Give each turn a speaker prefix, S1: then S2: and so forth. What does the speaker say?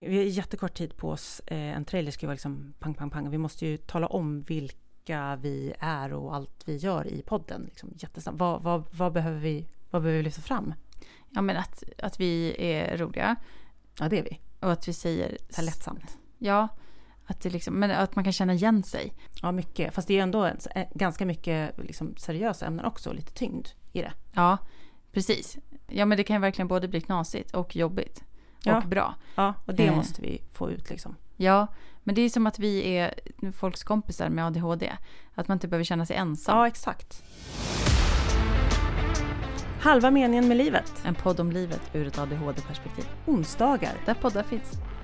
S1: Vi har jättekort tid på oss. Eh, En trailer ska ju vara liksom pang, pang, pang. Vi måste ju tala om vilka vi är och allt vi gör i podden. Liksom jättesnabbt. Vad, vad, vad, behöver vi, vad behöver vi lyfta fram?
S2: Ja men att, att vi är roliga
S1: Ja, det är vi.
S2: och att vi säger...
S1: Så här lättsamt.
S2: Ja. Att, det liksom, men att man kan känna igen sig.
S1: Ja, mycket. Fast det är ju ändå en, eh, ganska mycket liksom, seriösa ämnen också. Lite tyngd i det.
S2: Ja, precis. Ja men det kan ju verkligen både bli knasigt och jobbigt.
S1: Ja.
S2: Och bra.
S1: Ja, och det
S2: Eh.
S1: måste vi få ut liksom.
S2: Ja, men det är som att vi är folks kompisar med ADHD. Att man inte behöver känna sig ensam.
S1: Ja, exakt. Halva meningen med livet.
S2: En podd om livet ur ett ADHD-perspektiv.
S1: Onsdagar.
S2: Där poddar finns.